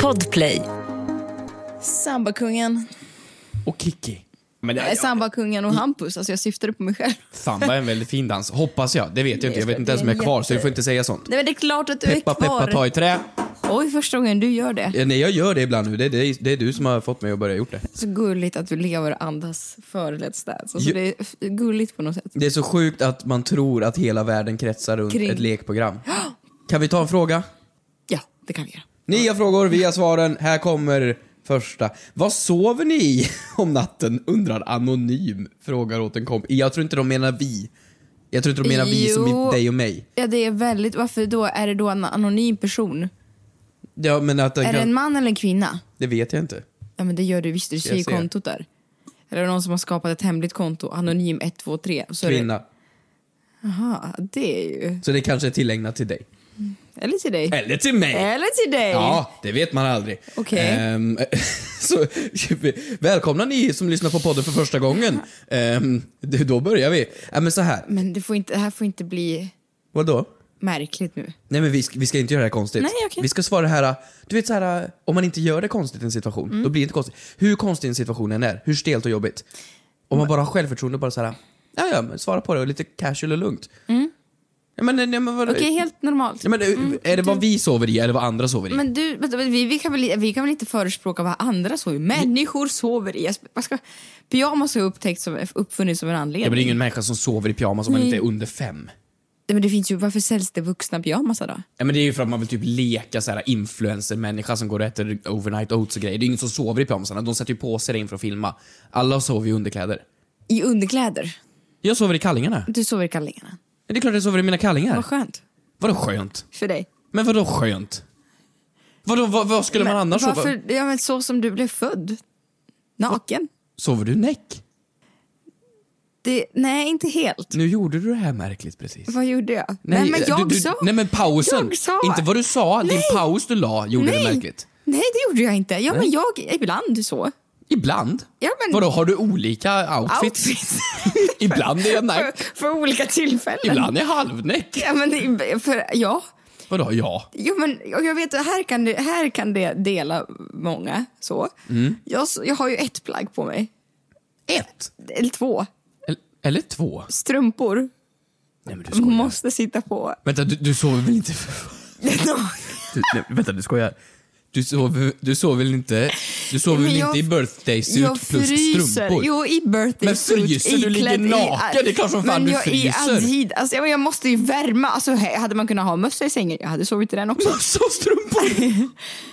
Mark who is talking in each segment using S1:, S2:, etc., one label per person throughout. S1: Podplay.
S2: Sambakungen.
S3: Och Kiki. Men det,
S2: Nej, Sambakungen och Hampus. Alltså jag syftade på mig själv.
S3: samba är en väldigt fin dans, hoppas jag. Det vet jag inte, jag vet inte ens om jag är kvar så du får inte säga sånt.
S2: Nej men det är klart att du
S3: Peppa
S2: är kvar.
S3: peppa ta i trä.
S2: Oj, första gången du gör det.
S3: Ja, nej, jag gör det ibland nu. Det är, det, är, det är du som har fått mig att börja gjort det.
S2: Så gulligt att du lever och andas för Let's Dance. Alltså,
S3: Ju-
S2: Det är f- gulligt på något sätt.
S3: Det är så sjukt att man tror att hela världen kretsar runt
S2: Kring.
S3: ett lekprogram. Kan vi ta en fråga?
S2: Ja, det kan vi göra.
S3: Nya frågor via svaren. Här kommer första. Vad sover ni i om natten? Undrar anonym. Frågar åt en kompis. Jag tror inte de menar vi. Jag tror inte de menar vi som
S2: Jo.
S3: i dig och mig.
S2: Ja, det är väldigt... Varför då? Är det då en anonym person?
S3: Ja, men att det,
S2: Är det en
S3: kan,
S2: man eller en kvinna?
S3: det vet jag inte.
S2: Ja, men det gör du visst. Du ser ju
S3: ser.
S2: kontot där. Eller är det någon som har skapat ett hemligt konto? Anonym 123. Så är det-
S3: Kvinna.
S2: Jaha, det är ju...
S3: Så det kanske är tillägnat till dig.
S2: Eller till dig.
S3: Eller till mig!
S2: Eller till dig!
S3: Ja, det vet man aldrig.
S2: Okej.
S3: Ehm, så, välkomna ni som lyssnar på podden för första gången. Ehm, det- då börjar vi. Äh, men så här,
S2: Men det, får inte, det här får inte bli
S3: vadå?
S2: märkligt nu.
S3: Nej men vi ska, vi ska inte göra det här konstigt.
S2: Nej, okej.
S3: Vi ska svara det här, du vet så här, om man inte gör det konstigt i en situation,
S2: Mm.
S3: då blir det inte konstigt. Hur konstig en situation än är, hur stelt och jobbigt.
S2: Mm.
S3: Om man bara har självförtroende och bara så här, ja ja, men svara på det och lite casual och lugnt. Ja, men, nej, men, vadå?
S2: Mm. Okej, Mm, helt normalt.
S3: ja, men, eh, är det vad vi sover i eller vad andra sover i?
S2: Men du, vänta, men vi, vi, kan väl, vi kan väl inte förespråka vad andra sover i? Människor sover i. Jag sp- Vad ska, pyjamas har ju upptäckt som, uppfunnits som en anledning.
S3: Ja, men det är ingen människa som sover i pyjamas om man inte är under fem.
S2: Ja, men det finns ju, varför säljs det vuxna pyjamasar då?
S3: Ja, men det är ju för att man vill typ leka så här influencer-människa som går och äter overnight oats och grejer. Det är ingen som sover i pyjamasarna. De sätter ju på sig det inför att filma. Alla sover i underkläder.
S2: I underkläder.
S3: Jag sover i kallingarna.
S2: Du sover i kallingarna.
S3: Det är klart jag sover i mina kallingar.
S2: Vad skönt
S3: Vadå skönt?
S2: för dig.
S3: Men vadå skönt? Vadå, vad, vad skulle man
S2: Men
S3: annars sova?
S2: varför, ja, men Så som du blev född. Naken.
S3: Sover du näck?
S2: Det, nej, inte helt.
S3: Nu gjorde du det här märkligt precis.
S2: Vad gjorde jag? Nej, men jag
S3: du, du,
S2: sov.
S3: Nej men pausen.
S2: Jag sov.
S3: Inte vad du sa, din paus du la gjorde
S2: nej.
S3: det märkligt.
S2: Nej, det gjorde jag inte. Ja, men jag, ibland så.
S3: Ibland.
S2: Ja, men-
S3: Vadå, har du olika outfits?
S2: Outfits.
S3: Ibland är jag näck.
S2: för, för olika tillfällen.
S3: Ibland är jag halvnäck.
S2: Ja, men det, för, ja.
S3: Vadå, ja?
S2: Jo, men och jag vet, här kan, det, här kan det dela många. Så.
S3: Mm.
S2: Jag, s- jag har ju ett plagg på mig.
S3: Ett?
S2: Eller två.
S3: Eller, eller två?
S2: Strumpor
S3: Nej men du skojar.
S2: måste sitta på.
S3: Vänta, du, du sover väl inte... För... Du, nej, vänta, du skojar. Du sover, du sover väl inte, du sover
S2: Men
S3: väl
S2: jag-
S3: inte i birthday
S2: jag
S3: suit plus
S2: fryser.
S3: strumpor?
S2: Jo, i birthday
S3: Men
S2: suit,
S3: fryser du? Ligger
S2: iklädd i-
S3: naken? Det är klart som fan
S2: men
S3: du
S2: jag
S3: fryser.
S2: Är adid, alltså, ja, men jag måste ju värma. Alltså, he- hade man kunnat ha mössa i sängen? Jag hade sovit i den också.
S3: Massa strumpor!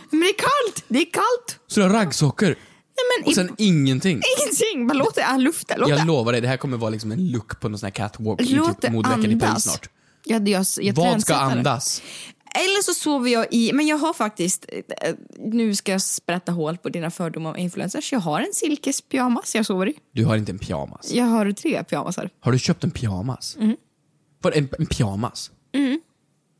S2: men det är kallt! Det är kallt!
S3: Så du har raggsockor?
S2: Nej, men
S3: Och sen ingenting?
S2: ingenting! Bara låt det all luft där. Låt det
S3: Jag lovar dig, det här kommer vara liksom en look på någon sån här catwalk i
S2: Låt
S3: typ
S2: det
S3: modeveckan i Paris
S2: andas.
S3: snart.
S2: Ja, det- jag, jag
S3: Vad ska
S2: trendsättare.
S3: andas?
S2: Eller så sover jag i... Men jag har faktiskt... eh, Nu ska jag sprätta hål på dina fördomar om influencers. Jag har en silkespyjamas jag sover i.
S3: Du har inte en pyjamas.
S2: Jag har tre pyjamasar.
S3: Har du köpt en pyjamas?
S2: Mm.
S3: Var en, en pyjamas?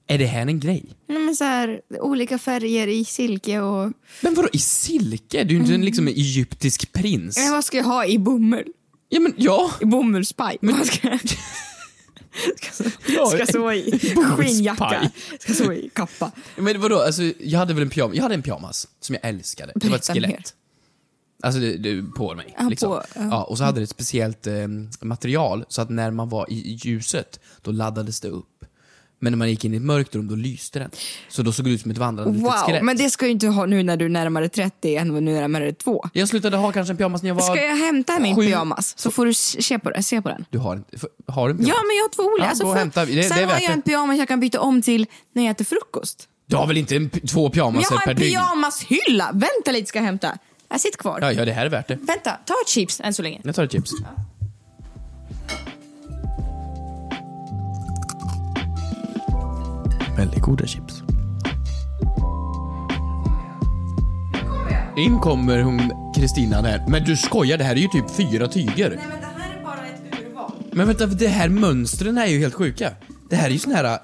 S3: Är det här en grej?
S2: Nej, men så här, olika färger i silke och...
S3: Men vadå, i silke? Du är ju inte en
S2: Mm.
S3: liksom en egyptisk prins.
S2: Men vad ska jag ha i bomull?
S3: Ja, men ja.
S2: I bomullspaj? Vad ska jag... Ska,
S3: Ja,
S2: ska
S3: en-
S2: sova i
S3: bomullspaj.
S2: skinnjacka, ska sova i kappa.
S3: Men vadå, alltså, jag hade väl en pyjamas, jag hade en pyjamas som jag älskade. Det var ett
S2: Berätta mer.
S3: skelett. Alltså det, det, på mig.
S2: Ja,
S3: liksom.
S2: på, ja.
S3: ja, och så hade det ett speciellt eh, material, så att när man var i ljuset, då laddades det upp. Men när man gick in i ett mörkt rum, då lyste den. Så då såg det ut som ett vandrande litet
S2: Wow,
S3: skelett.
S2: men det ska du inte ha nu när du är närmare 30 än nu när du är närmare 2.
S3: Jag slutade ha kanske en pyjamas när jag var...
S2: Ska jag hämta min
S3: sju-
S2: pyjamas så får du se på, den- se på den.
S3: Du har inte... f- Har du en
S2: Ja,
S3: pyjamas?
S2: men jag har två olika.
S3: Ja,
S2: alltså,
S3: gå och
S2: för-
S3: hämta. Det- det är
S2: sen har
S3: värt
S2: jag en
S3: det.
S2: pyjamas jag kan byta om till när jag äter frukost.
S3: Du har väl inte en, p- två
S2: Men
S3: pyjamasar
S2: jag har
S3: per
S2: en
S3: dygn?
S2: pyjamashylla! Vänta lite ska jag hämta. Jag sitter kvar.
S3: Ja, ja, det här är värt det.
S2: Vänta, ta ett chips än så länge.
S3: Jag tar ett chips. Väldigt goda chips. In kommer hon, Kristina där. Men du skojar, det här är ju typ fyra tyger.
S2: men det här är bara ett urval.
S3: Men vänta, det här mönstren är ju helt sjuka. Det här är ju sån här...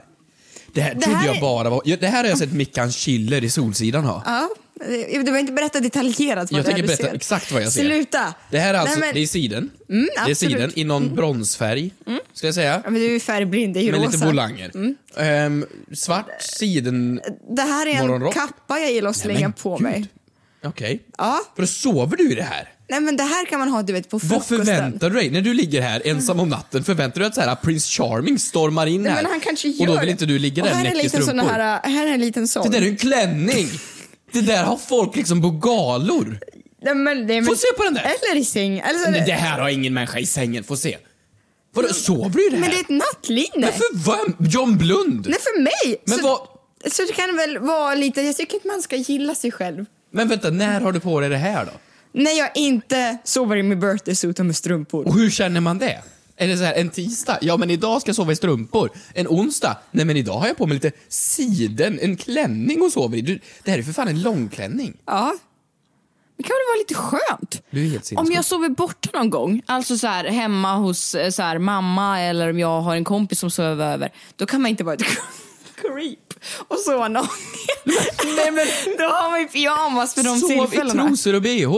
S3: Det här trodde
S2: här
S3: jag
S2: är-
S3: bara var... ja, Det här har jag sett Mickan Schiller i Solsidan ha.
S2: Ja, eh, Du behöver inte berätta detaljerat vad
S3: Jag
S2: det är
S3: tänker
S2: du
S3: berätta
S2: ser.
S3: exakt vad jag ser.
S2: Sluta!
S3: Det här är
S2: Nej,
S3: alltså,
S2: men, Mm,
S3: det är siden. det är
S2: absolut. Mm.
S3: siden i någon bronsfärg, skulle jag säga.
S2: Ja, men du är färgblind, det är ju
S3: Med
S2: rosa. Mm. Eh,
S3: lite volanger. Ehm, svart siden...
S2: Det här är en
S3: Morgonrock.
S2: kappa jag gillar att slänga
S3: men
S2: på
S3: gud.
S2: mig.
S3: Okej.
S2: Ja,
S3: För då sover du i det här?
S2: nej men det här kan man ha du vet på
S3: Vad
S2: frukosten.
S3: förväntar du dig? När du ligger här ensam om natten, förväntar du dig att så här, prins Charming stormar in
S2: Nej,
S3: här?
S2: men han kanske gör
S3: och då vill
S2: det.
S3: inte du ligga
S2: Och
S3: där
S2: här är en
S3: näck i
S2: liten sån
S3: strumpor?
S2: här, eh, här är en liten sån.
S3: Det där är ju en klänning! Det där har folk liksom på galor.
S2: Nej, men, nej, men,
S3: Få se på den där.
S2: Eller i säng. Eller,
S3: Nej, det här har ingen människa i sängen, få se. Vadå, sover du i det här?
S2: Mm. Men det är ett nattlinne.
S3: Men för vem? John Blund?
S2: Nej, för mig!
S3: Men
S2: så,
S3: vad-
S2: så det kan väl vara lite, jag tycker att man ska gilla sig själv.
S3: Men vänta, när har du på dig det här då?
S2: När jag inte sover i min birthday suit och med strumpor.
S3: Och hur känner man det? Är det så här, en tisdag? Ja, men idag ska jag sova i strumpor. En onsdag? Nej, men idag har jag på mig lite siden, en klänning och sover i. Du, det här är för fan en långklänning.
S2: Ja. Det kan väl vara lite skönt?
S3: Du är helt sinnessjuk.
S2: Om jag sover borta någon gång, alltså så här, hemma hos eh, så här, mamma eller om jag har en kompis som sover över, då kan man inte vara ett creep och sova naken. Nej, men då har man ju pyjamas för de
S3: Sov i
S2: tillfällena.
S3: trosor och bh.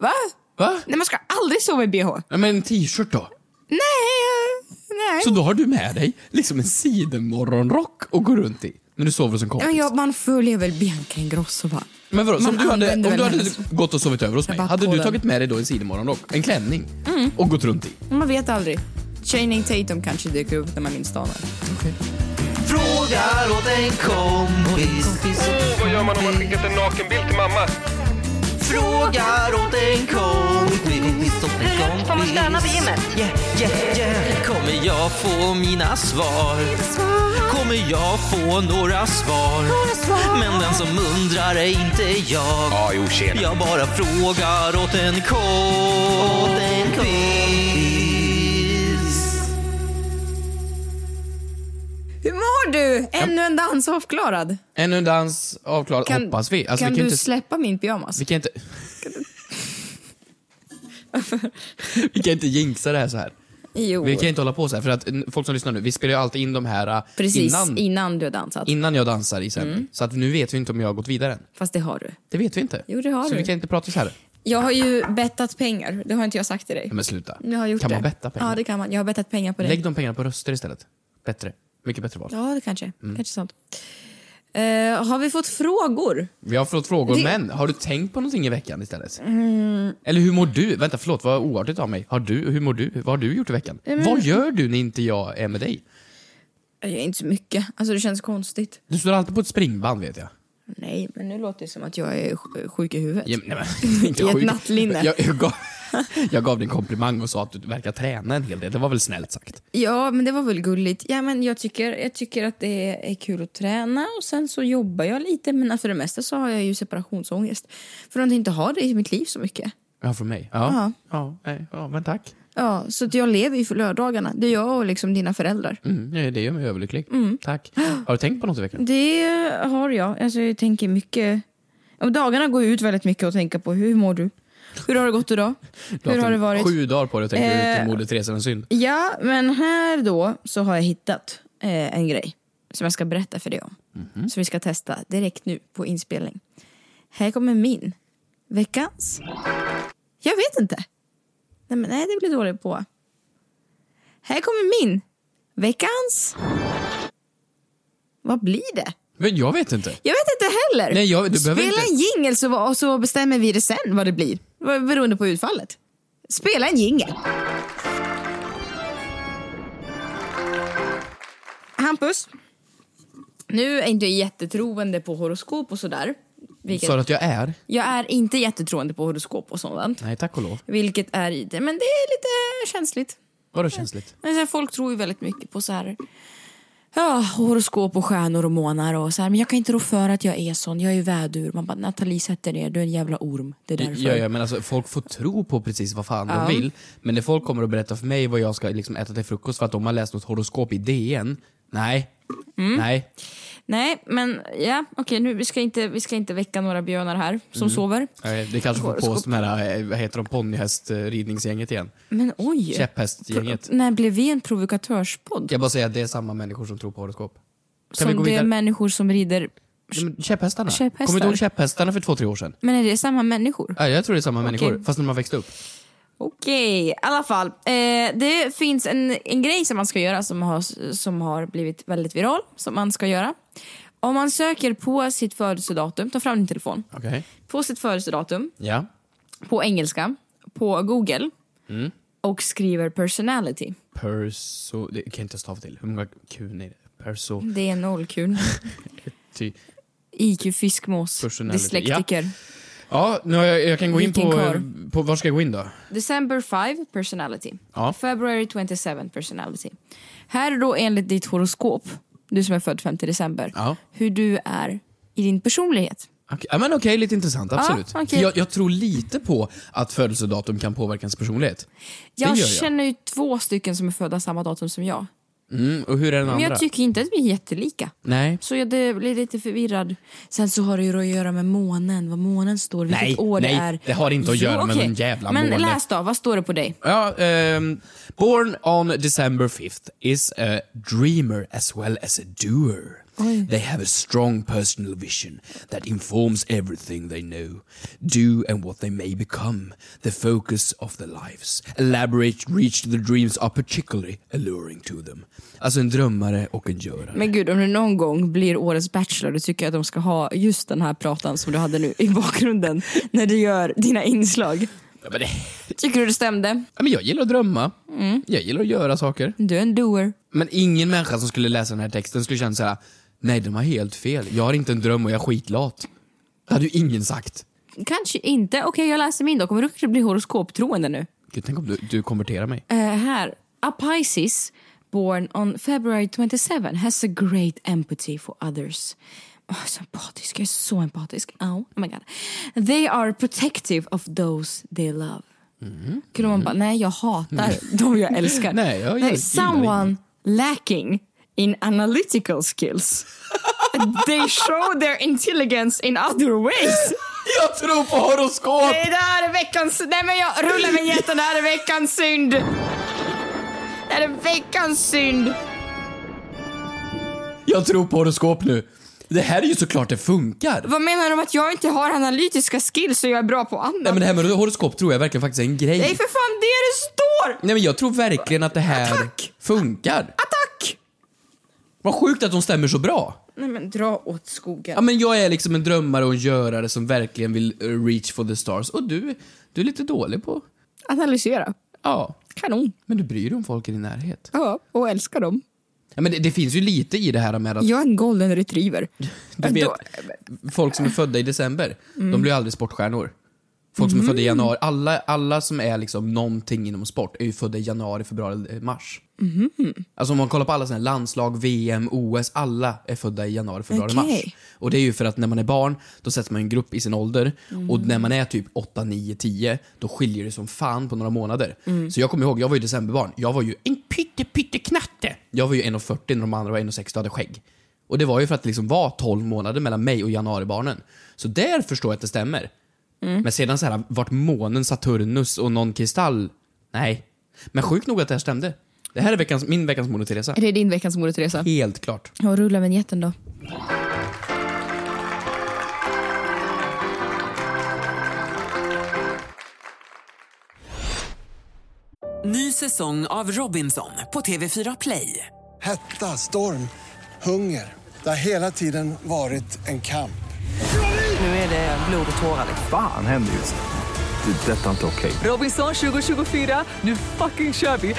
S2: Va?
S3: Va?
S2: Nej, man ska aldrig sova i bh.
S3: Nej, men en t-shirt då?
S2: Nej, eh, nej.
S3: Så då har du med dig liksom en sidenmorgonrock och går runt i när du sover hos en kompis.
S2: Men jag, man följer väl Bianca Ingrosso va?
S3: Men vadå, så om
S2: Man
S3: du hade, om
S2: använder
S3: du
S2: väl
S3: hade
S2: hennes-
S3: gått och sovit över hos mig,
S2: bara Mm.
S3: hade
S2: på
S3: du
S2: den.
S3: tagit med dig då en sidenmorgonrock, en klänning och gått runt i?
S2: Man vet aldrig. Channing Tatum kanske dyker upp när man minst anar.
S1: Frågar åt en kompis.
S4: Åh, vad gör man om man skickat en nakenbild till mamma?
S1: Frågar åt en kompis. åt en
S5: Hur högt får man
S1: kompis.
S5: stöna vid gymmet?
S1: Yeah, yeah, yeah. Kommer jag få mina svar? Kommer jag få några svar? Men den som undrar är inte jag.
S4: Ja, jo, tjena.
S1: Jag bara frågar åt en kompis.
S2: Hur mår du? Ännu en dans avklarad.
S3: Ännu en dans avklarad,
S2: Kan,
S3: hoppas vi. Alltså,
S2: kan
S3: vi kan
S2: du
S3: inte...
S2: släppa min pyjamas?
S3: Vi kan inte... vi kan inte jinxa det här så här.
S2: Jo,
S3: Vi kan inte hålla på så här, för att n- folk som lyssnar nu, vi spelar ju alltid in de här äh,
S2: precis Mm.
S3: innan,
S2: innan, du har dansat.
S3: innan jag dansar i sändning. Så att nu vet vi inte om jag har gått vidare än.
S2: Fast det har du.
S3: Det vet vi inte.
S2: Jo, det har
S3: så
S2: du.
S3: vi kan inte prata så här. Nej,
S2: Jag har ju bettat pengar. Det har inte jag sagt till dig.
S3: Men sluta.
S2: Men jag har gjort
S3: kan
S2: det.
S3: man betta pengar?
S2: Ja, det kan man. Jag har bettat pengar på dig.
S3: Lägg de pengarna på röster istället. Bättre. Mycket bättre val.
S2: Ja, det kanske.
S3: Mm.
S2: Kanske sant. Eh, har vi fått frågor?
S3: Vi har fått frågor,
S2: Det- Mm.
S3: men har du tänkt på någonting i veckan istället? Eller hur mår du? Vänta, förlåt, vad oartigt av mig. Har du, hur mår du? Vad har du gjort i veckan?
S2: Mm,
S3: Vad gör du när inte jag är med dig?
S2: Jag gör inte så mycket. Alltså, det känns konstigt.
S3: Du står alltid på ett springband vet jag.
S2: Nej, men nu låter det som att jag är sj- sjuk i huvudet.
S3: Ja, men- nej, men, inte
S2: I ett
S3: sjuk.
S2: nattlinne.
S3: Jag, jag, gav, jag gav dig en komplimang och sa att du verkar träna en hel del. Det var väl snällt sagt?
S2: Ja, men det var väl gulligt. Ja, men jag, tycker, jag tycker att det är kul att träna och sen så jobbar jag lite. Men för det mesta så har jag ju separationsångest. För att inte ha det i mitt liv så mycket.
S3: Ja, från mig?
S2: Ja.
S3: Ja. Ja, nej, ja men tack.
S2: Ja, så att jag lever ju för lördagarna. Det är jag och liksom dina föräldrar.
S3: Mm, ja, det gör mig överlycklig.
S2: Mm.
S3: Tack. Har du tänkt på något i veckan?
S2: Det har jag. Alltså, jag tänker mycket... Om dagarna går ju ut väldigt mycket att tänka på. Hur mår du? Hur har det gått idag?
S3: Du
S2: Hur
S3: haft
S2: har det
S3: en-
S2: varit?
S3: Sju dagar på dig att tänka
S2: Eh.
S3: ut Moder Theresernas synd.
S2: Ja, men här då så har jag hittat eh, en grej som jag ska berätta för dig om. Som vi ska testa direkt nu på inspelning. Här kommer min. Veckans. Jag vet inte. Nej, men nej det blir dåligt på. Här kommer min. Veckans. Vad blir det?
S3: Men jag vet inte.
S2: Jag vet inte heller.
S3: Nej, jag- du behöver
S2: Spela
S3: inte-
S2: en jingel så, va- så bestämmer vi det sen vad det blir. Vad- Beroende på utfallet. Spela en jingel. Hampus, nu är inte jag jättetroende på horoskop och sådär. Vilket,
S3: Sa du att jag är?
S2: jag är inte jättetroende på horoskop och sådant.
S3: Nej, tack och lov.
S2: Vilket är i det, men det är lite känsligt.
S3: Vadå känsligt?
S2: Men så här, folk tror ju väldigt mycket på så här Ja, horoskop och stjärnor och månar och så här. Men jag kan inte rå för att jag är sån. Jag är ju vädur. Man bara, Nathalie sätter ner. Du är en jävla orm. Det är därför.
S3: Ja, ja, men alltså, folk får tro på precis vad fan de vill. Men när folk kommer och berättar för mig vad jag ska liksom, äta till frukost för att de har läst något horoskop i DN. Nej. Nej.
S2: Nej, men ja, okej nu, vi ska, inte, vi ska inte väcka några björnar här som sover.
S3: Eh, Det kanske får på oss de här, eh, vad heter de, ponnyhästridningsgänget igen.
S2: Men oj.
S3: Käpphästgänget.
S2: När blev vi en provokatörspodd?
S3: Jag bara säger att det är samma människor som tror på horoskop. Kan vi
S2: som
S3: gå
S2: det är
S3: vidare?
S2: människor som rider
S3: Ja, men Käpphästarna.
S2: Käpphästar.
S3: Kommer du ihåg käpphästarna för två, tre år sedan?
S2: Men är det samma människor?
S3: Ja, jag tror det är samma människor, fast när man växte upp.
S2: Okej, i alla fall. Eh, det finns en, en grej som man ska göra som har, som har blivit väldigt viral. Som man ska göra. Om man söker på sitt födelsedatum, ta fram din telefon.
S3: Okej.
S2: På sitt födelsedatum,
S3: Ja.
S2: på engelska, på google och skriver personality.
S3: Perso... Det kan jag inte stava till. Hur många kun är det? Perso...
S2: Det är nollkul.
S3: Ty.
S2: IQ fiskmås,
S3: Personality,
S2: dyslektiker.
S3: Ja, nu har jag, jag kan gå in
S2: Vilken
S3: på,
S2: karl.
S3: på... Var ska jag gå in då?
S2: December 5, personality.
S3: Ja.
S2: February 27, personality. Här är då enligt ditt horoskop, du som är född 5 december,
S3: Ja.
S2: hur du är i din personlighet.
S3: Okej, ja, men okej, lite intressant. Absolut.
S2: okej.
S3: För jag, jag tror lite på att födelsedatum kan påverka ens personlighet.
S2: Jag,
S3: det gör jag.
S2: känner ju två stycken som är födda samma datum som jag.
S3: Mm, och hur är den
S2: Men
S3: andra?
S2: jag tycker inte att vi är jättelika.
S3: Nej.
S2: Så jag det blir lite förvirrad. Sen så har det ju att göra med månen, vad månen står, vilket
S3: Nej,
S2: år
S3: nej,
S2: det är.
S3: det har inte att göra med
S2: okej.
S3: någon jävla
S2: Men
S3: måne.
S2: läs då, vad står det på dig?
S3: Ja, ehm, born on December 5th is a dreamer as well as a doer. They have a strong personal vision that informs everything they know, do and what they may become, the focus of their lives. Elaborate reach the dreams are particularly alluring to them. Alltså en drömmare och en görare.
S2: Men gud, om du någon gång blir årets bachelor, då tycker jag att de ska ha just den här pratan som du hade nu i bakgrunden när du gör dina inslag.
S3: Ja, men det,
S2: Tycker du det stämde?
S3: ja, men jag gillar att drömma. Jag gillar att göra saker.
S2: Du är en doer.
S3: Men ingen människa som skulle läsa den här texten skulle känna så här: nej de har helt fel, jag har inte en dröm och jag är skitlat. Det hade ju ingen sagt.
S2: Kanske inte. Okej, jag läser min då. Kommer du kanske bli horoskoptroende nu?
S3: Gud, tänk om du, du konverterar mig.
S2: Eh, här. A Pisces, born on February 27, has a great empathy for others. Oh, så empatisk. Jag är så empatisk. Oh, oh my god. They are protective of those they love. Kunde man bara, nej jag hatar de jag älskar.
S3: Mm. Nej, jag gillar-
S2: someone lacking in analytical skills. They show their intelligence in other ways.
S3: Jag tror på horoskop!
S2: Nej, det här är veckans... Nej, men jag rullar med jätten. Det här är veckans synd. Det här är veckans synd.
S3: Jag tror på horoskop nu. Det här är ju såklart det funkar.
S2: Vad menar du att jag inte har analytiska skills och jag är bra på annat?
S3: Nej men det här med horoskop tror jag verkligen faktiskt är en grej.
S2: Det är för fan det det står!
S3: Nej men jag tror verkligen att det här
S2: Attack!
S3: funkar.
S2: Attack!
S3: Vad sjukt att de stämmer så bra.
S2: Nej, men dra åt skogen.
S3: Ja men jag är liksom en drömmare och en görare som verkligen vill eh, reach for the stars. Och du, du är lite dålig på...
S2: Analysera.
S3: Ja.
S2: Kanon.
S3: Men du bryr dig om folk i din närhet.
S2: Ja, och älska dem.
S3: Ja, men det, det finns ju lite i det här med att
S2: Jag är en golden retriever.
S3: du vet,
S2: Då-
S3: folk som är födda i december, de blir ju aldrig sportstjärnor. Folk som är födda i januari, alla, alla som är liksom någonting inom sport är ju födda i januari, februari, eller mars. Alltså om man kollar på alla såna här landslag, VM, OS, alla är födda i januari, februari, mars.
S2: Okej.
S3: Och det är ju för att när man är barn, då sätts man i en grupp i sin ålder. Och när man är typ 8, 9, 10, då skiljer det som fan på några månader. Så jag kommer ihåg, jag var ju decemberbarn. Jag var ju en pytte, pytte knatte. Jag var ju 1,40 när de andra var 1,60 och hade skägg. Och det var ju för att det liksom var 12 månader mellan mig och januaribarnen. Så där förstår jag att det stämmer.
S2: Mm.
S3: Men sedan så här, vart månen, Saturnus och någon kristall? Nej. Men sjukt nog att det här stämde. Det här är veckans, min veckans Moder Teresa.
S2: Är det din veckans mode, Teresa?
S3: Helt klart.
S2: Ja, rulla vinjetten då.
S5: Ny säsong av Robinson på TV4 Play.
S6: Hetta, storm, hunger. Det har hela tiden varit en kamp.
S5: Nu är det blod och tårar.
S7: Fan händer just nu. Det. är Detta är inte okej.
S5: Robinson 2024, nu fucking kör vi!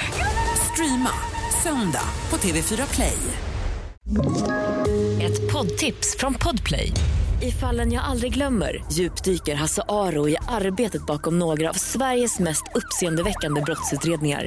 S5: Streama söndag på TV4 Play.
S8: Ett poddtips från Podplay. I fallen jag aldrig glömmer djupdyker Hasse Aro i arbetet bakom några av Sveriges mest uppseendeväckande brottsutredningar.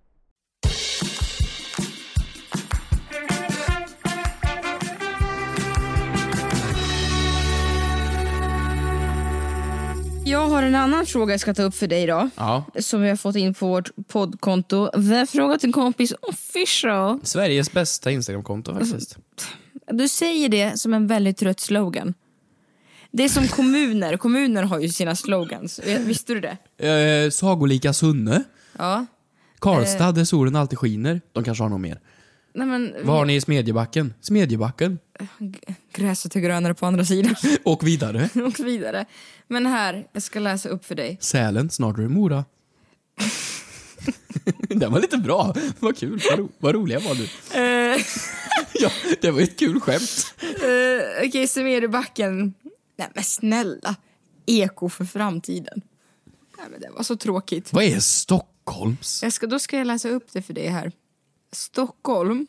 S2: Jag har en annan fråga jag ska ta upp för dig idag.
S3: Ja.
S2: Som vi har fått in på vårt poddkonto. Vem frågar till kompis official?
S3: Sveriges bästa Instagramkonto
S2: Mm.
S3: faktiskt.
S2: Du säger det som en väldigt trött slogan. Det är som kommuner. Kommuner har ju sina slogans. Visste du det?
S3: Eh, sagolika Sunne.
S2: Ja. Eh.
S3: Karlstad, där solen alltid skiner. De kanske har något mer.
S2: Nej, men,
S3: Vad har ni i Smedjebacken? Smedjebacken.
S2: Gräset är grönare på andra sidan.
S3: Och vidare.
S2: Och vidare. Men här, jag ska läsa upp för dig.
S3: Sälen, snart är det Mora. Den var lite bra. Vad kul. Vad, ro, vad roliga var du.
S2: Eh,
S3: Ja, det var ett kul skämt.
S2: Eh, Okej, okay, Smedjebacken. Nej men snälla. Eko för framtiden. Nej men det var så tråkigt.
S3: Vad är Stockholms?
S2: Jag ska, då ska jag läsa upp det för dig här. Stockholm.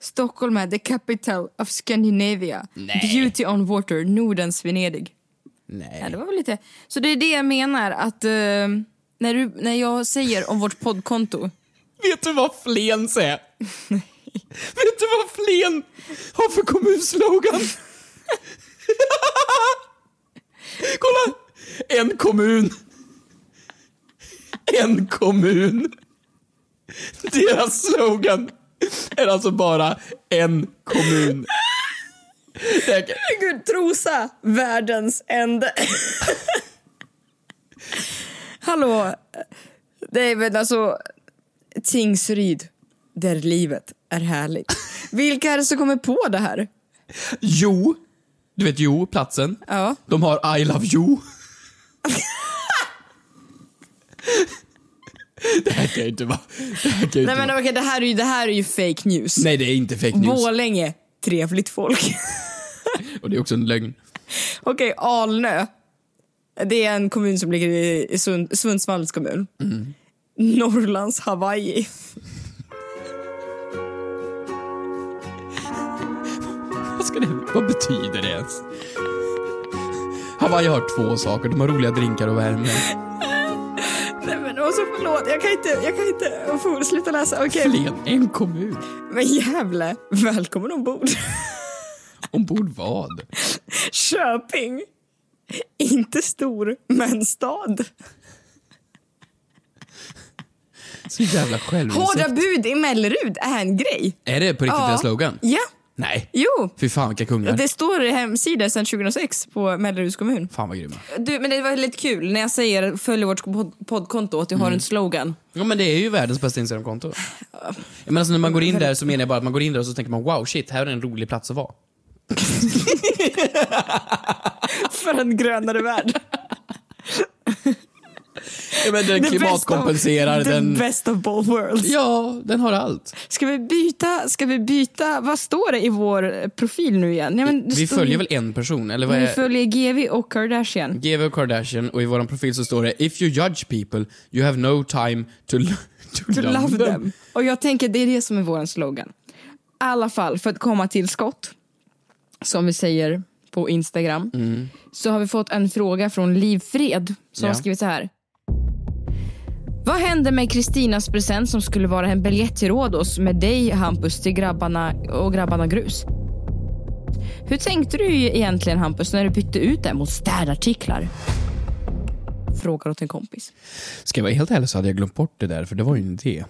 S2: Stockholm är the capital of Scandinavia. Beauty on water, Nordens Venedig. Ja,
S3: Nej.
S2: det var väl lite... Så det är det jag menar att eh, när, du, när jag säger om vårt poddkonto.
S3: Vet du vad Flens är? Vet du vad Flen har för kommunslogan? Kolla! En kommun. En kommun. Deras slogan är alltså bara en kommun. Det här-
S2: Gud, Trosa, världens ände. Hallå. Nej, men alltså... Tingsryd, där livet är härligt. Vilka är det som kommer på det här?
S3: Jo. Du vet Jo, platsen.
S2: Ja.
S3: De har I love you. det här kan ju inte vara... Det här kan ju
S2: Nej,
S3: inte
S2: men
S3: vara.
S2: okej, det här är ju, det här är ju fake news.
S3: Nej, det är inte fake news.
S2: Borlänge, trevligt folk.
S3: Och det är också en lögn.
S2: Okej, Alnö. Det är en kommun som ligger i i Sund- Sundsvalls kommun.
S3: Mm.
S2: Norrlands Hawaii.
S3: Vad, ska det, vad betyder det ens? Hawaii har två saker. De har roliga drinkar och värme.
S2: Nej men också förlåt, jag kan inte, jag kan inte få, sluta läsa. Okej,
S3: Flen, en kommun.
S2: men jävla välkommen ombord.
S3: Ombord vad?
S2: Köping. Inte stor, men stad.
S3: Så jävla
S2: Hårda
S3: självinsikt.
S2: bud i Mellerud är en grej.
S3: Är det på riktigt
S2: Ja.
S3: deras slogan?
S2: Ja,
S3: Nej.
S2: jo.
S3: Fy fan vilka kungar.
S2: Det står i hemsida sedan 2006 på Melleruds kommun.
S3: Fan vad grymma.
S2: Du, men det var lite kul när jag säger följ vårt pod- poddkonto att jag har en slogan.
S3: Ja men det är ju världens bästa Instagramkonto. Men alltså när man går in där så menar jag bara att man går in där och så tänker man wow shit, här är en rolig plats att vara.
S2: För en grönare värld.
S3: Ja, men den
S2: The
S3: klimatkompenserar,
S2: best of,
S3: den...
S2: The best of both worlds.
S3: Ja, den har allt.
S2: Ska vi byta, ska vi byta, vad står det i vår profil nu igen? Nej, men det
S3: Vi
S2: står-
S3: följer väl en person, eller vad
S2: Vi
S3: är...
S2: följer GV och Kardashian.
S3: GW och Kardashian och i vår profil så står det If you judge people, you have no time to, lo- to,
S2: To love them. Och jag tänker det är det som är vår slogan. I alla fall för att komma till skott, som vi säger på Instagram, så har vi fått en fråga från Liv Fred som
S3: Ja.
S2: har skrivit så här. Vad hände med Kristinas present som skulle vara en biljett till Rhodos med dig Hampus till grabbarna och grabbarna grus? Hur tänkte du egentligen Hampus när du bytte ut det mot städartiklar? Frågar åt en kompis.
S3: Ska jag vara helt ärlig så hade jag glömt bort det där, för det var ju en idé.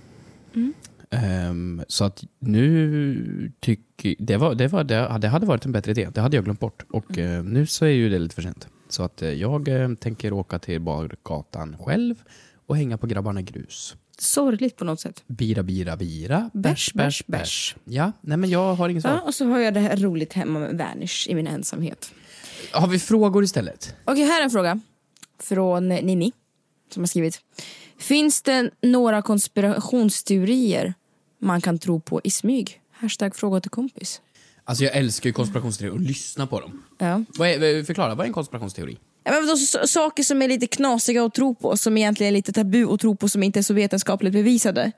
S2: Mm.
S3: Ehm, så att nu tycker... Det, var, det, var, det, det hade varit en bättre idé. Det hade jag glömt bort. Och
S2: Mm.
S3: eh, nu så är ju det lite för sent. Så att eh, jag eh, tänker åka till bargatan själv och hänga på grabbarna grus.
S2: Sorgligt på något sätt.
S3: Bira, bira, bira.
S2: Bärs, bärs, bärs.
S3: Ja, nej men jag har ingen svar.
S2: Ja, och så har jag det här roligt hemma med Vanish i min ensamhet.
S3: Har vi frågor istället?
S2: Okej, här är en fråga från Nini som har skrivit. Finns det några konspirationsteorier man kan tro på i smyg? Hashtag fråga till kompis.
S3: Alltså jag älskar ju konspirationsteorier och lyssna på dem.
S2: Ja.
S3: Vad är, eh, förklara, vad är en konspirationsteori?
S2: Ja, Men vadå, så- saker som är lite knasiga att tro på, som egentligen är lite tabu att tro på, som inte är så vetenskapligt bevisade.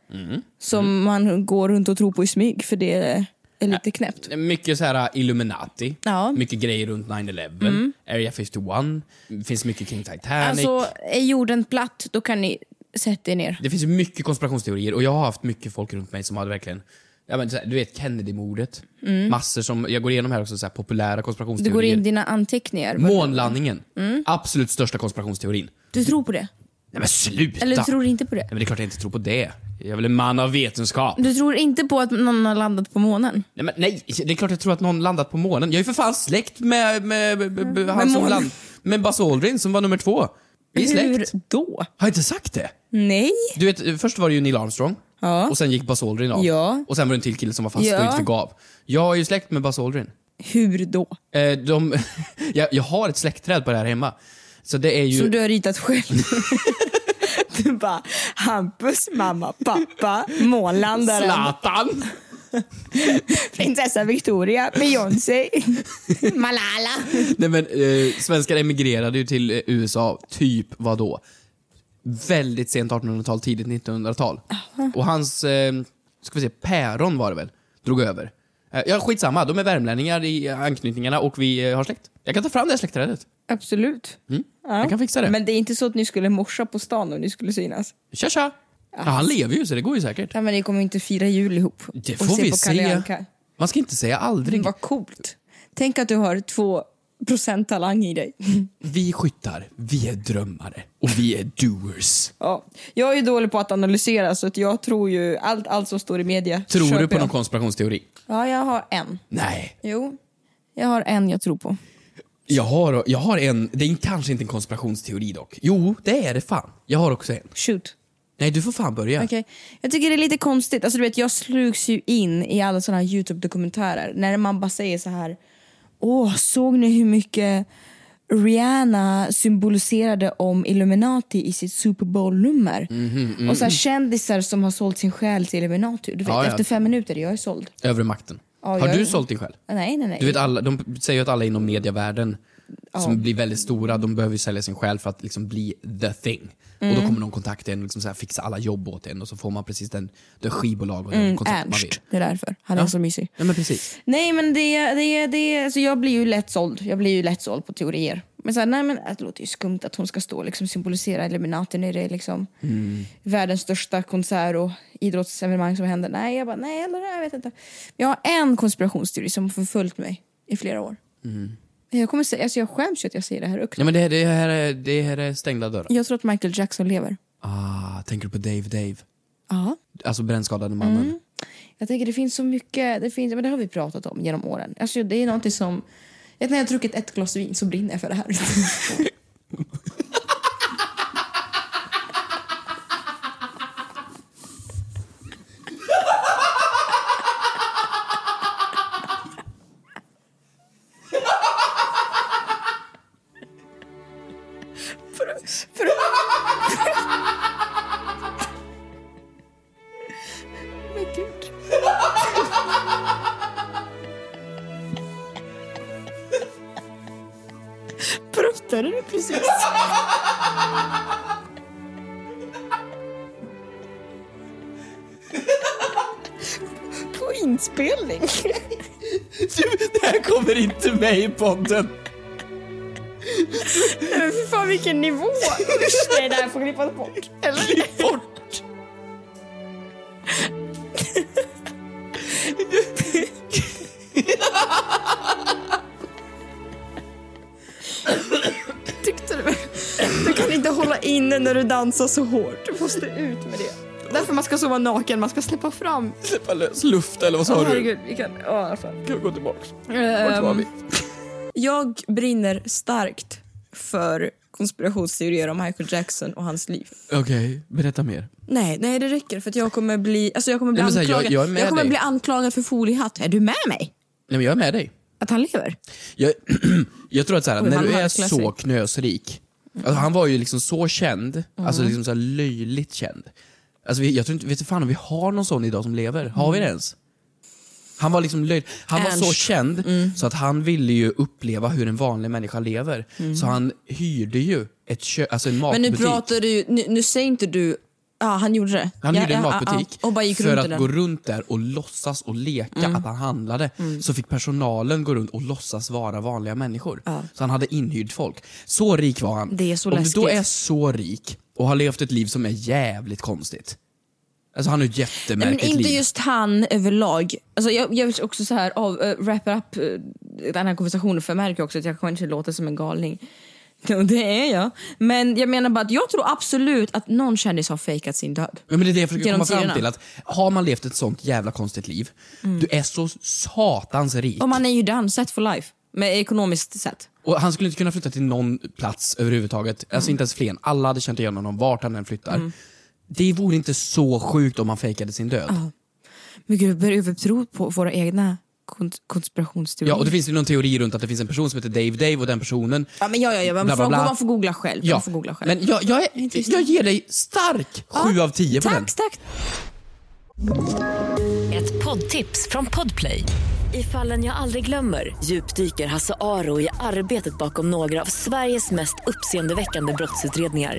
S2: Som man går runt och tror på i smyg för det är, är lite knäppt.
S3: Mycket så här äh, Illuminati,
S2: Ja. Mm.
S3: mycket grejer runt 9-11, Area 51, det finns mycket kring Titanic.
S2: Alltså, är jorden platt, då kan ni sätta er ner.
S3: Det finns ju mycket konspirationsteorier och jag har haft mycket folk runt mig som har verkligen Ja, men, så här, du vet Kennedy-mordet.
S2: Mm.
S3: Massor som, jag går igenom här också, så här, populära
S2: Du går
S3: konspirationsteorier.
S2: in i Mm. dina anteckningar.
S3: Månlandningen. Absolut största konspirationsteorin.
S2: Du tror på det?
S3: Nej men sluta!
S2: Eller du tror inte på det?
S3: Nej, men det är klart jag inte tror på det. Jag är väl en man av vetenskap.
S2: Du tror inte på att någon har landat på månen?
S3: Nej, men nej, det är klart jag tror att någon landat på månen. Jag är ju för fan släkt med, med, med, med, med han som
S2: Mm. månen.
S3: land... Med Buzz Aldrin som var nummer två. Vi är släkt.
S2: Hur då?
S3: Har jag inte sagt det?
S2: Nej.
S3: Du vet, först var det ju Neil Armstrong.
S2: Ja.
S3: Och sen gick Buzz Aldrin av.
S2: Ja.
S3: Och sen var det en till kille som var fast
S2: Ja.
S3: och inte förgav. Jag är ju släkt med Buzz Aldrin.
S2: Hur då?
S3: Eh, de, jag, jag har ett släktträd på det här hemma. Så det är ju...
S2: Som du har ritat själv. du bara, Hampus mamma, pappa, månlandaren,
S3: Zlatan!
S2: prinsessa Victoria, Beyoncé, Malala.
S3: Nej men, eh, svenskar emigrerade ju till eh, USA, typ vad då? Väldigt sent 1800-tal, tidigt 1900-tal. Och hans, eh, ska vi se, päron var det väl? Drog över. Eh, ja, skitsamma, de är värmlänningar i anknytningarna och vi eh, har släkt. Jag kan ta fram det här släktträdet.
S2: Absolut. Ja.
S3: Mm. Jag kan fixa det.
S2: Men det är inte så att ni skulle morsa på stan om ni skulle synas?
S3: Tja tja! Ja, han lever ju så det går ju säkert.
S2: Nej men ni kommer inte fira jul ihop.
S3: Det
S2: och
S3: får vi
S2: på
S3: se.
S2: Kalle Anka.
S3: Man ska inte säga aldrig.
S2: Vad coolt. Tänk att du har två procent talang i dig.
S3: Vi skyttar, vi är drömmare och vi är doers.
S2: Ja. Jag är ju dålig på att analysera så att jag tror ju allt, allt som står i media.
S3: Tror du
S2: köper
S3: på
S2: jag.
S3: någon konspirationsteori?
S2: Ja, jag har en.
S3: Nej.
S2: Jo, jag har en jag tror på.
S3: Jag har, jag har en, det är kanske inte en konspirationsteori dock. Jo, det är det fan. Jag har också en.
S2: Shoot.
S3: Nej, du får fan börja.
S2: Okej. Jag tycker det är lite konstigt. Alltså, du vet, jag slugs ju in i alla såna här Youtube-dokumentärer när man bara säger så här. Åh, såg ni hur mycket Rihanna symboliserade om Illuminati i sitt Super Bowl-nummer?
S3: Mhm,
S2: och så här, kändisar som har sålt sin själ till Illuminati. Du vet,
S3: Ja, ja.
S2: efter fem minuter, jag är såld.
S3: Övre makten.
S2: Ja,
S3: har
S2: jag-
S3: du sålt dig själv?
S2: Nej, nej, nej.
S3: Du vet, alla, de säger ju att alla inom medievärlden som blir väldigt stora, de behöver ju sälja sin själ för att liksom bli the thing. Och
S2: Mm.
S3: då kommer någon kontakta en och liksom så här fixa alla jobb åt en och så får man precis den, det skivbolag och den
S2: Mm,
S3: kontakt man vill.
S2: Ernst, det är därför. Han är så mysig.
S3: Ja, men precis.
S2: Nej men det, det, det, alltså jag blir ju lätt såld. Jag blir ju lätt såld på teorier. Men så här, nej men det låter ju skumt att hon ska stå och liksom symbolisera Illuminati när det är liksom
S3: Mm.
S2: världens största konsert och idrottsevenemang som händer. Nej, jag bara nej eller nej, jag vet inte. Jag har en konspirationsteori som har förföljt mig i flera år.
S3: Mm.
S2: Jag, kommer säga, alltså jag skäms ju att jag säger det här högt.
S3: Ja, men det, det, här är, det här är stängda dörrar.
S2: Jag tror att Michael Jackson lever.
S3: Ah, tänker du på Dave Dave?
S2: Ja.
S3: Alltså brännskadade mannen.
S2: Mm. Jag tänker det finns så mycket, det, finns, men det har vi pratat om genom åren. Alltså det är någonting som, jag vet när jag har druckit ett glas vin så brinner jag för det här. Men gud. Pruttade du precis? På inspelning?
S3: Du, det här kommer inte med i podden.
S2: Nej men fy fan vilken nivå! Usch, Nej det här får klippas bort. Eller?
S3: Klipp bort!
S2: Tyckte du? Du kan inte hålla inne när du dansar så hårt. Du måste ut med det. Därför man ska sova naken, man ska släppa fram.
S3: Släppa lös luft eller vad sa
S2: Åh
S3: du?
S2: herregud, vi kan... Ja, i alla fall.
S3: Kan vi gå tillbaks? Vart var
S2: Ehm,
S3: vi?
S2: Jag brinner starkt för konspirationsteorier om Michael Jackson och hans liv.
S3: Okej, berätta mer.
S2: Nej, nej det räcker för att jag kommer bli, alltså jag kommer bli
S3: Nej, men så här, jag-
S2: anklagad.
S3: jag är med
S2: kommer
S3: dig.
S2: bli anklagad för foliehatt. Är du med mig?
S3: Nej men jag är med dig.
S2: Att han lever?
S3: Jag, jag tror att så här,
S2: Oj,
S3: när
S2: han
S3: du är
S2: harklar sig.
S3: så knösrik, alltså, han var ju liksom så känd, alltså
S2: Mm.
S3: liksom så här löjligt känd. Alltså vi, jag tror inte, vet du fan om vi har någon sån idag som lever? Har vi det ens? Han var liksom löjlig. Han var så
S2: Mm. Ernst. Mm.
S3: känd så att han ville ju uppleva hur en vanlig människa lever. Så han hyrde ju ett kö, alltså en
S2: Mm. Men
S3: matbutik.
S2: nu pratar du ju- nu, nu säger inte du, ja han gjorde det.
S3: Han
S2: ja,
S3: gjorde en
S2: ja, ja,
S3: matbutik
S2: ja. och bara gick
S3: för
S2: runt Mm. i
S3: att
S2: den.
S3: gå runt där och låtsas och leka att han handlade.
S2: Mm.
S3: Så fick personalen gå runt och låtsas vara vanliga människor. Så han hade inhyrd folk. Så rik var han.
S2: Det är så
S3: Om du då
S2: läskigt.
S3: är så rik och har levt ett liv som är jävligt konstigt. Alltså han har ett
S2: Nej, Men
S3: jättemärkligt
S2: inte
S3: liv.
S2: just han överlag. Alltså jag, jag vill också så här av, uh, wrap up eh, den här konversationen för jag märker också att jag kanske låter som en galning. Och Det är jag. Men jag menar bara att jag tror absolut att någon kändis har fejkat sin död.
S3: Ja, Men det är det jag försöker
S2: Genom
S3: komma fram
S2: tiderna. Mm.
S3: till. Att har man levt ett sånt jävla konstigt liv, du är så satans rik.
S2: Och man är ju done, set for life. Med ekonomiskt sett.
S3: Och han skulle inte kunna flytta till någon plats överhuvudtaget.
S2: Mm.
S3: Alltså inte ens Flen. Alla hade känt igen honom vart han än flyttar. Det vore inte så sjukt om han fejkade sin död.
S2: Men gud, börjar vi tro på våra egna kons- konspirationsteorier?
S3: Ja, och det finns ju någon teori runt att det finns en person som heter Dave Dave och den personen...
S2: Ja, men ja, ja, ja. Man,
S3: Bla, bla,
S2: får,
S3: bla.
S2: man får googla själv. Man får googla själv.
S3: men jag, jag, är- jag ger dig stark 7 av 10 på den.
S2: Tack, tack.
S8: Ett poddtips från Podplay. I fallen jag aldrig glömmer djupdyker Hasse Aro i arbetet bakom några av Sveriges mest uppseendeväckande brottsutredningar.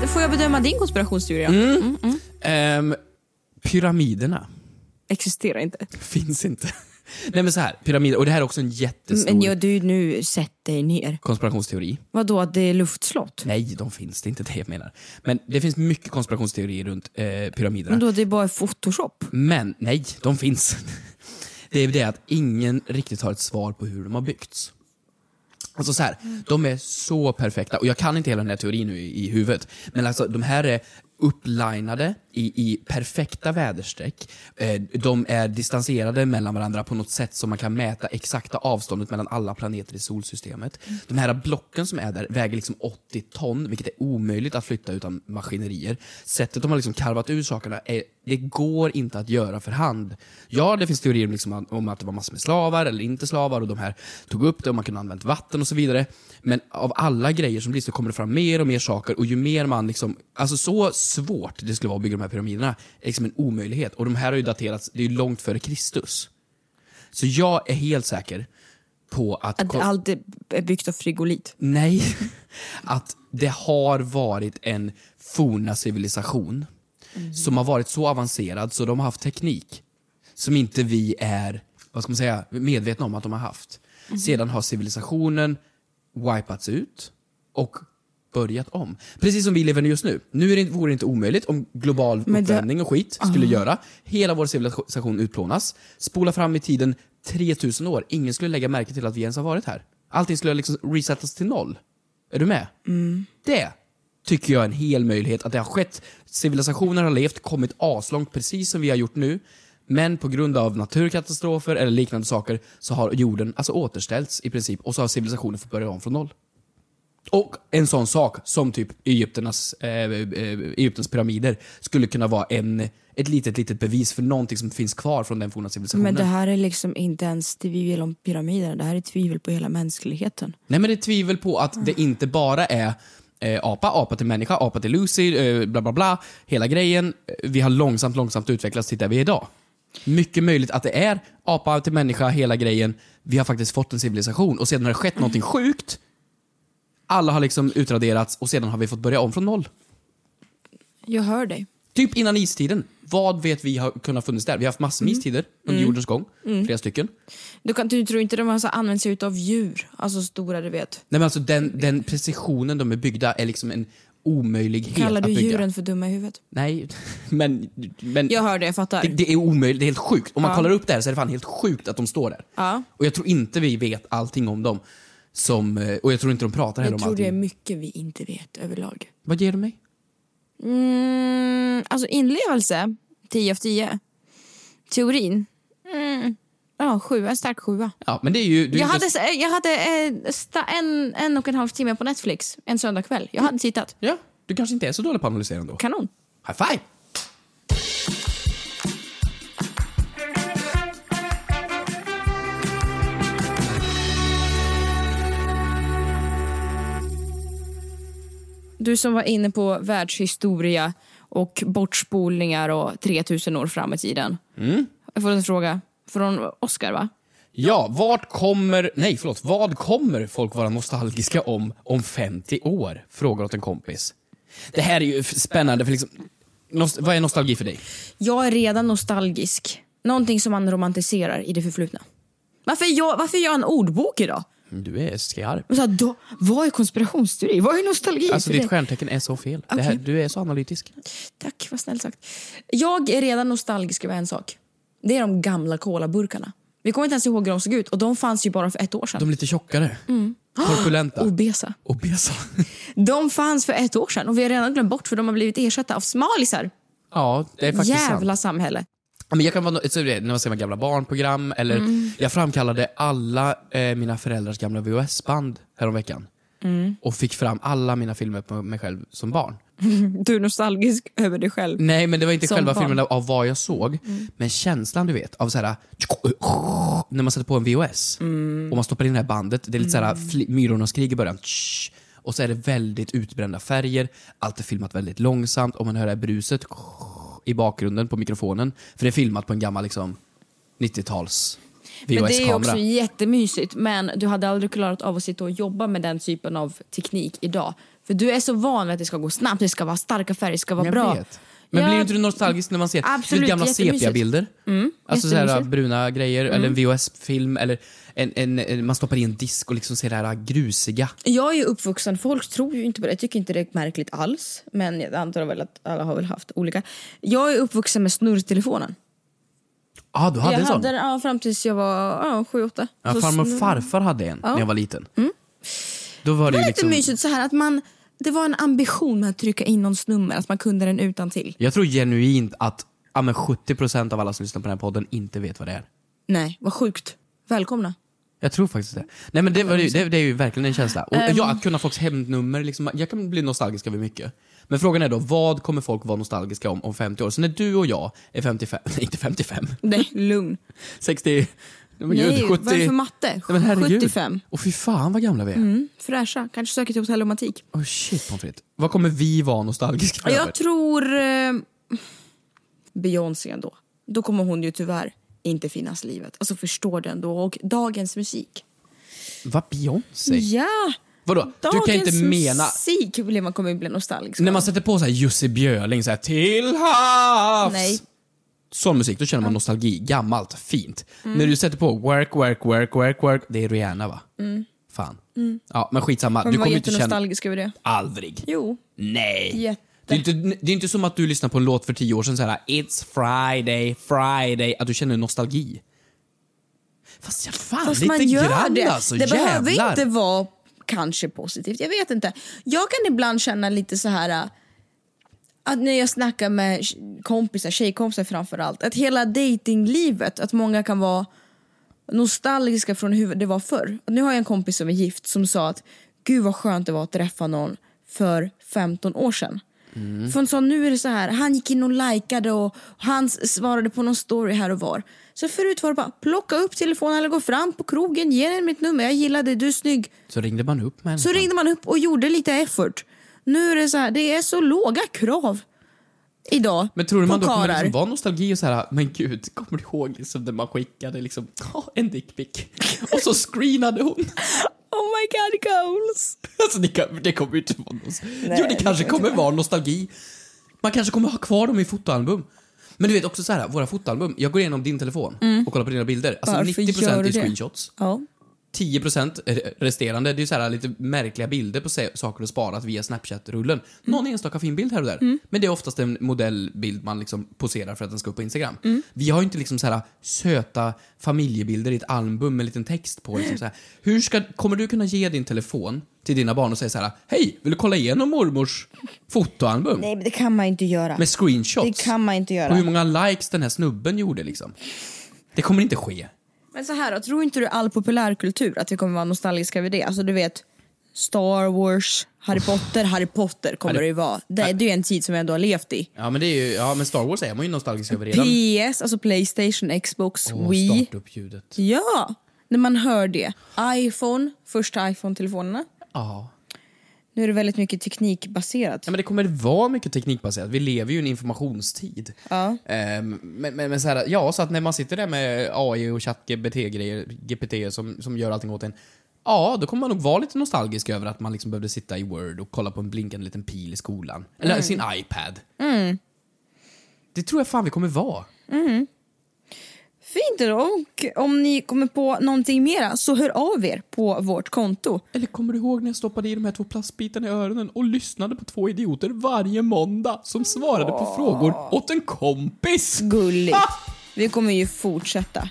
S2: Då får jag bedöma din konspirationsteori. då.
S3: Mm. Ehm, pyramiderna
S2: Existerar inte.
S3: finns inte. Nej men så här, pyramider, och det här är också en jättestor
S2: Men ja, du nu, sätt dig ner.
S3: konspirationsteori.
S2: Vadå, att det är luftslott?
S3: Nej, de finns, det är inte det jag menar. Men det finns mycket konspirationsteorier runt eh, pyramiderna.
S2: Men då det är bara photoshop?
S3: Men nej, de finns. Det är det att ingen riktigt har ett svar på hur de har byggts. Alltså så här, de är så perfekta och jag kan inte hela den här teorin nu i, i huvudet. Men alltså de här är upplinade i, i perfekta väderstreck. Eh, de är distanserade mellan varandra på något sätt som man kan mäta exakta avståndet mellan alla planeter i solsystemet. De här blocken som är där väger liksom 80 ton, vilket är omöjligt att flytta utan maskinerier. Sättet de har liksom karvat ur sakerna, är, det går inte att göra för hand. Ja, det finns teorier om liksom om att det var massor med slavar eller inte slavar och de här tog upp det och man kunde ha använt vatten och så vidare. Men av alla grejer som blir så kommer det fram mer och mer saker och ju mer man liksom, alltså så svårt det skulle vara att bygga de här pyramiderna, är liksom en omöjlighet. Och de här har ju daterats, det är ju långt före Kristus. Så jag är helt säker på att...
S2: Att allt är byggt av frigolit?
S3: Nej, att det har varit en forna civilisation som har varit så avancerad så de har haft teknik som inte vi är vad ska man säga, medvetna om att de har haft.
S2: Mhm.
S3: Sedan har civilisationen wipats ut och börjat om. Precis som vi lever nu just nu. Nu är det, vore det inte omöjligt om global
S2: Men det- Ah.
S3: uppvärmning och skit skulle göra. Hela vår civilisation utplånas. Spola fram i tiden 3000 år. Ingen skulle lägga märke till att vi ens har varit här. Allting skulle liksom resettas till noll. Är du med? Det tycker jag är en hel möjlighet att det har skett. Civilisationer har levt, kommit aslångt precis som vi har gjort nu. Men på grund av naturkatastrofer eller liknande saker så har jorden alltså återställts i princip och så har civilisationen fått börja om från noll. Och en sån sak som typ Egypternas, eh, eh, Egyptens pyramider skulle kunna vara en, ett litet, litet bevis för någonting som finns kvar från den forna civilisationen.
S2: Men det här är liksom inte ens tvivel om pyramiderna, det här är tvivel på hela mänskligheten.
S3: Nej men det är tvivel på att det inte bara är eh, apa, apa till människa, apa till Lucy, eh, bla bla bla. Hela grejen. Eh, Vi har långsamt, långsamt utvecklats till där vi är idag. Mycket möjligt att det är apa till människa, hela grejen. Vi har faktiskt fått en civilisation och sedan har det skett någonting sjukt. Alla har liksom utraderats och sedan har vi fått börja om från noll.
S2: Jag hör dig.
S3: Typ innan istiden. Vad vet vi har kunnat funnits där? Vi har haft massor med istider under jordens gång. Flera stycken.
S2: Du, kan, du tror inte de har så använt sig av djur? Alltså stora, du vet.
S3: Nej men alltså den, den precisionen de är byggda är liksom en omöjlighet
S2: Kallar
S3: att
S2: du
S3: bygga.
S2: djuren för dumma i huvudet?
S3: Nej, men, men
S2: Jag hör det, jag fattar.
S3: det, det är omöjligt. Det är helt sjukt. Om man
S2: Ja.
S3: kollar upp det här så är det fan helt sjukt att de står där.
S2: Ja.
S3: Och jag tror inte vi vet allting om dem. Som, eh, och jag tror inte de pratar heller
S2: Jag
S3: om
S2: tror
S3: allting.
S2: det är mycket vi inte vet överlag.
S3: Vad ger du mig?
S2: Mm, alltså inlevelse, 10 av 10. Teorin, mm, ja, sjua, en stark sjua.
S3: Ja, men det är ju... du är
S2: Jag
S3: inte-
S2: hade, eh, jag hade eh, sta- en, en och en halv timme på Netflix en söndagkväll. Jag hade tittat.
S3: Ja, du kanske inte är så dålig på att analysera ändå.
S2: Kanon.
S3: High five!
S2: Du som var inne på världshistoria och bortspolningar och 3000 år fram i tiden.
S3: Mm.
S2: Jag får en fråga från Oscar, va?
S3: Ja, vart kommer... Nej, förlåt. Vad kommer folk vara nostalgiska om om 50 år? Frågar åt en kompis. Det här är ju f- spännande, för liksom... Nost- vad är nostalgi för dig?
S2: Jag är redan nostalgisk. Någonting som man romantiserar i det förflutna. Varför gör jag, varför gör jag en ordbok idag?
S3: Du är skarp.
S2: Men Så här, då, vad är konspirationsteori? Vad är nostalgi
S3: Alltså
S2: för
S3: ditt
S2: dig?
S3: stjärntecken är så fel. Det här,
S2: Okej.
S3: du är så analytisk.
S2: Tack, vad snällt sagt. Jag är redan nostalgisk över en sak. Det är de gamla colaburkarna. Vi kommer inte ens ihåg hur de såg ut och de fanns ju bara för ett år sedan.
S3: De är lite tjockare.
S2: Mm.
S3: Korpulenta.
S2: Obesa.
S3: Obesa.
S2: De fanns för ett år sedan och vi har redan glömt bort för de har blivit ersatta av smalisar.
S3: Ja, det är faktiskt sant.
S2: Jävla samhälle.
S3: Ja, Men jag kan vara, no- så det är när man ser med gamla barnprogram eller
S2: Mm.
S3: jag framkallade alla eh, mina föräldrars gamla VHS-band häromveckan
S2: Mm.
S3: och fick fram alla mina filmer på mig själv som barn.
S2: Du är nostalgisk över dig själv.
S3: Nej, men det var inte
S2: Som
S3: själva
S2: barn.
S3: filmen av vad jag såg,
S2: Mm.
S3: men känslan du vet av så här när man sätter på en VHS
S2: Mm.
S3: och man stoppar in det här bandet, det är lite så här fl- Myrornas krig i början. Tsch. Och så är det väldigt utbrända färger, allt är filmat väldigt långsamt och man hör det här bruset i bakgrunden på mikrofonen. För det är filmat på en gammal liksom 90-tals
S2: Men det är ju
S3: VHS-kamera.
S2: också jättemysigt. Men du hade aldrig klarat av att sitta och jobba med den typen av teknik idag. För du är så van vid att det ska gå snabbt, det ska vara starka färger, det ska vara
S3: Jag
S2: bra.
S3: vet. Men
S2: Ja,
S3: blir inte du nostalgisk när man ser
S2: Absolut,
S3: Absolut, gamla
S2: jättemysigt.
S3: sepia-bilder?
S2: Mm,
S3: Alltså så här
S2: jättemysigt.
S3: bruna grejer,
S2: Mm.
S3: eller en VHS-film, eller en, en, en, man stoppar i en disk och liksom ser det här grusiga.
S2: Jag är ju uppvuxen, folk tror ju inte på det. Jag tycker inte det är märkligt alls. Men jag antar väl att alla har väl haft olika. Jag är uppvuxen med snurrtelefonen.
S3: ah, du hade
S2: jag
S3: en sån?
S2: hade den ja, fram tills jag var ja, sju, åtta.
S3: Ja,
S2: Så
S3: farmor
S2: snurr-
S3: och farfar hade en
S2: Ja.
S3: när jag var liten. Då var
S2: Var
S3: det, ju
S2: det
S3: liksom...
S2: inte mysigt så här att man, det var en ambition med att trycka in någons nummer, att man kunde den utan till.
S3: Jag tror genuint att ja, men 70% av alla som lyssnar på den här podden inte vet vad det är.
S2: Nej, vad sjukt. Välkomna.
S3: Jag tror faktiskt det. Nej men det, var ju, det, det är ju verkligen en känsla. Och
S2: Ehm.
S3: ja, att kunna folks hemnummer, liksom, jag kan bli nostalgisk över mycket. Men frågan är då, vad kommer folk vara nostalgiska om om 50 år? Så när du och jag är 55, nej inte 55,
S2: Nej, lugn.
S3: 60, nej, men gud,
S2: Nej,
S3: 70.
S2: vad är det för matte?
S3: Nej, men herregud.
S2: 75.
S3: Och fy fan vad gamla vi är.
S2: Mm, fräscha. Kanske söker till hotell och matik.
S3: Oh, shit pommes frites. Vad kommer vi vara nostalgiska över?
S2: Jag tror eh, Beyoncé då. Då kommer hon ju tyvärr inte finnas i livet. Alltså förstår den då. Och dagens musik.
S3: Vad Beyoncé?
S2: Ja!
S3: Vadå? Du
S2: Dagens
S3: kan inte mena...
S2: musik blir man kommer ju bli nostalgisk
S3: När man sätter på så här Jussi Björling, så här till havs.
S2: Nej.
S3: Sån musik, då känner man nostalgi. Gammalt, fint.
S2: Mm.
S3: När du sätter på work, work, work, work, work. Det är Rihanna va?
S2: Mm.
S3: Fan.
S2: Mm.
S3: Ja, men skitsamma.
S2: Man
S3: du
S2: var
S3: kommer ju inte känna...
S2: jättenostalgisk över det.
S3: Aldrig.
S2: Jo.
S3: Nej.
S2: Jätte.
S3: Det är, inte, det är inte som att du lyssnar på en låt för tio år sedan så här It's Friday, Friday, att du känner nostalgi. Fast jag fan,
S2: Fast
S3: lite
S2: man gör
S3: grann
S2: det.
S3: alltså.
S2: det
S3: jävlar.
S2: behöver inte vara kanske positivt. Jag vet inte. Jag kan ibland känna lite så här äh, att när jag snackar med kompisar, tjejkompisar framför allt, att hela datinglivet, att många kan vara nostalgiska från hur det var förr. Och Nu har jag en kompis som är gift som sa att gud vad skönt det var att träffa någon för 15 år sedan.
S3: Mm.
S2: För hon sa nu är det så här, han gick in och likade och han s- svarade på någon story här och var. Så förut var det bara plocka upp telefonen eller gå fram på krogen, ge den mitt nummer, jag gillar dig, du är snygg.
S3: Så ringde man upp med en.
S2: Så ringde man upp och gjorde lite effort. Nu är det så här, det är så låga krav idag
S3: Men tror du man
S2: på
S3: då kommer
S2: karlar.
S3: liksom vara nostalgi och så här, men gud, kommer du ihåg liksom när man skickade liksom, "Ja, en dickpic? Och så screenade hon.
S2: Oh my god goals!
S3: Alltså det, kan, det kommer ju inte vara nostalgi.
S2: Nej,
S3: Jo,
S2: det
S3: det kanske
S2: kommer
S3: kommer vara nostalgi. Man kanske kommer ha kvar dem i fotoalbum. Men du vet också så här, våra fotoalbum, jag går igenom din telefon
S2: Mm.
S3: och kollar på dina bilder. Alltså
S2: Varför gör
S3: 90%
S2: du
S3: är
S2: det?
S3: screenshots.
S2: Ja.
S3: 10% re- resterande, det är ju så här lite märkliga bilder på se- saker du sparat via Snapchat-rullen. Någon enstaka fin bild här och där.
S9: Mm.
S3: Men det är oftast en modellbild man liksom poserar för att den ska upp på Instagram.
S9: Mm.
S3: Vi har ju inte liksom så här söta familjebilder i ett album med en liten text på. Liksom så här. Hur ska, kommer du kunna ge din telefon till dina barn och säga så här: Hej, vill du kolla igenom mormors fotoalbum?
S2: Nej men det kan man inte göra.
S3: Med screenshots?
S2: Det kan man inte
S3: På hur
S2: göra.
S3: många likes den här snubben gjorde liksom. Det kommer inte ske.
S2: Men så här då, tror inte du all populärkultur att vi kommer vara nostalgiska över det? Alltså du vet Star Wars, Harry Potter, Harry Potter kommer
S3: Harry-
S2: det ju vara. Det, det är ju en tid som jag ändå har levt i.
S3: Ja men, det är ju, ja, men Star Wars är man ju nostalgisk över redan.
S2: PS, alltså Playstation, Xbox,
S3: Åh,
S2: Wii.
S3: starta upp ljudet.
S2: Ja, när man hör det. iPhone, första iPhone-telefonerna.
S3: Ja.
S2: Nu är det väldigt mycket teknikbaserat.
S3: Ja, men det kommer vara mycket teknikbaserat. Vi lever ju i en informationstid.
S2: Ja.
S3: Ehm, men men, men så, här, ja, så att när man sitter där med AI och ChatGPT-grejer GPT som, som gör allting åt en, ja, då kommer man nog vara lite nostalgisk över att man liksom behövde sitta i Word och kolla på en blinkande liten pil i skolan. Eller
S2: Mm.
S3: sin iPad.
S2: Mm.
S3: Det tror jag fan vi kommer vara.
S2: Mm. Fint då. Och om ni kommer på någonting mera så hör av er på vårt konto.
S3: Eller kommer du ihåg när jag stoppade i de här två plastbitarna i öronen och lyssnade på två idioter varje måndag som svarade på frågor åt en kompis?
S2: Gulligt.
S3: Ah!
S2: Vi kommer ju fortsätta.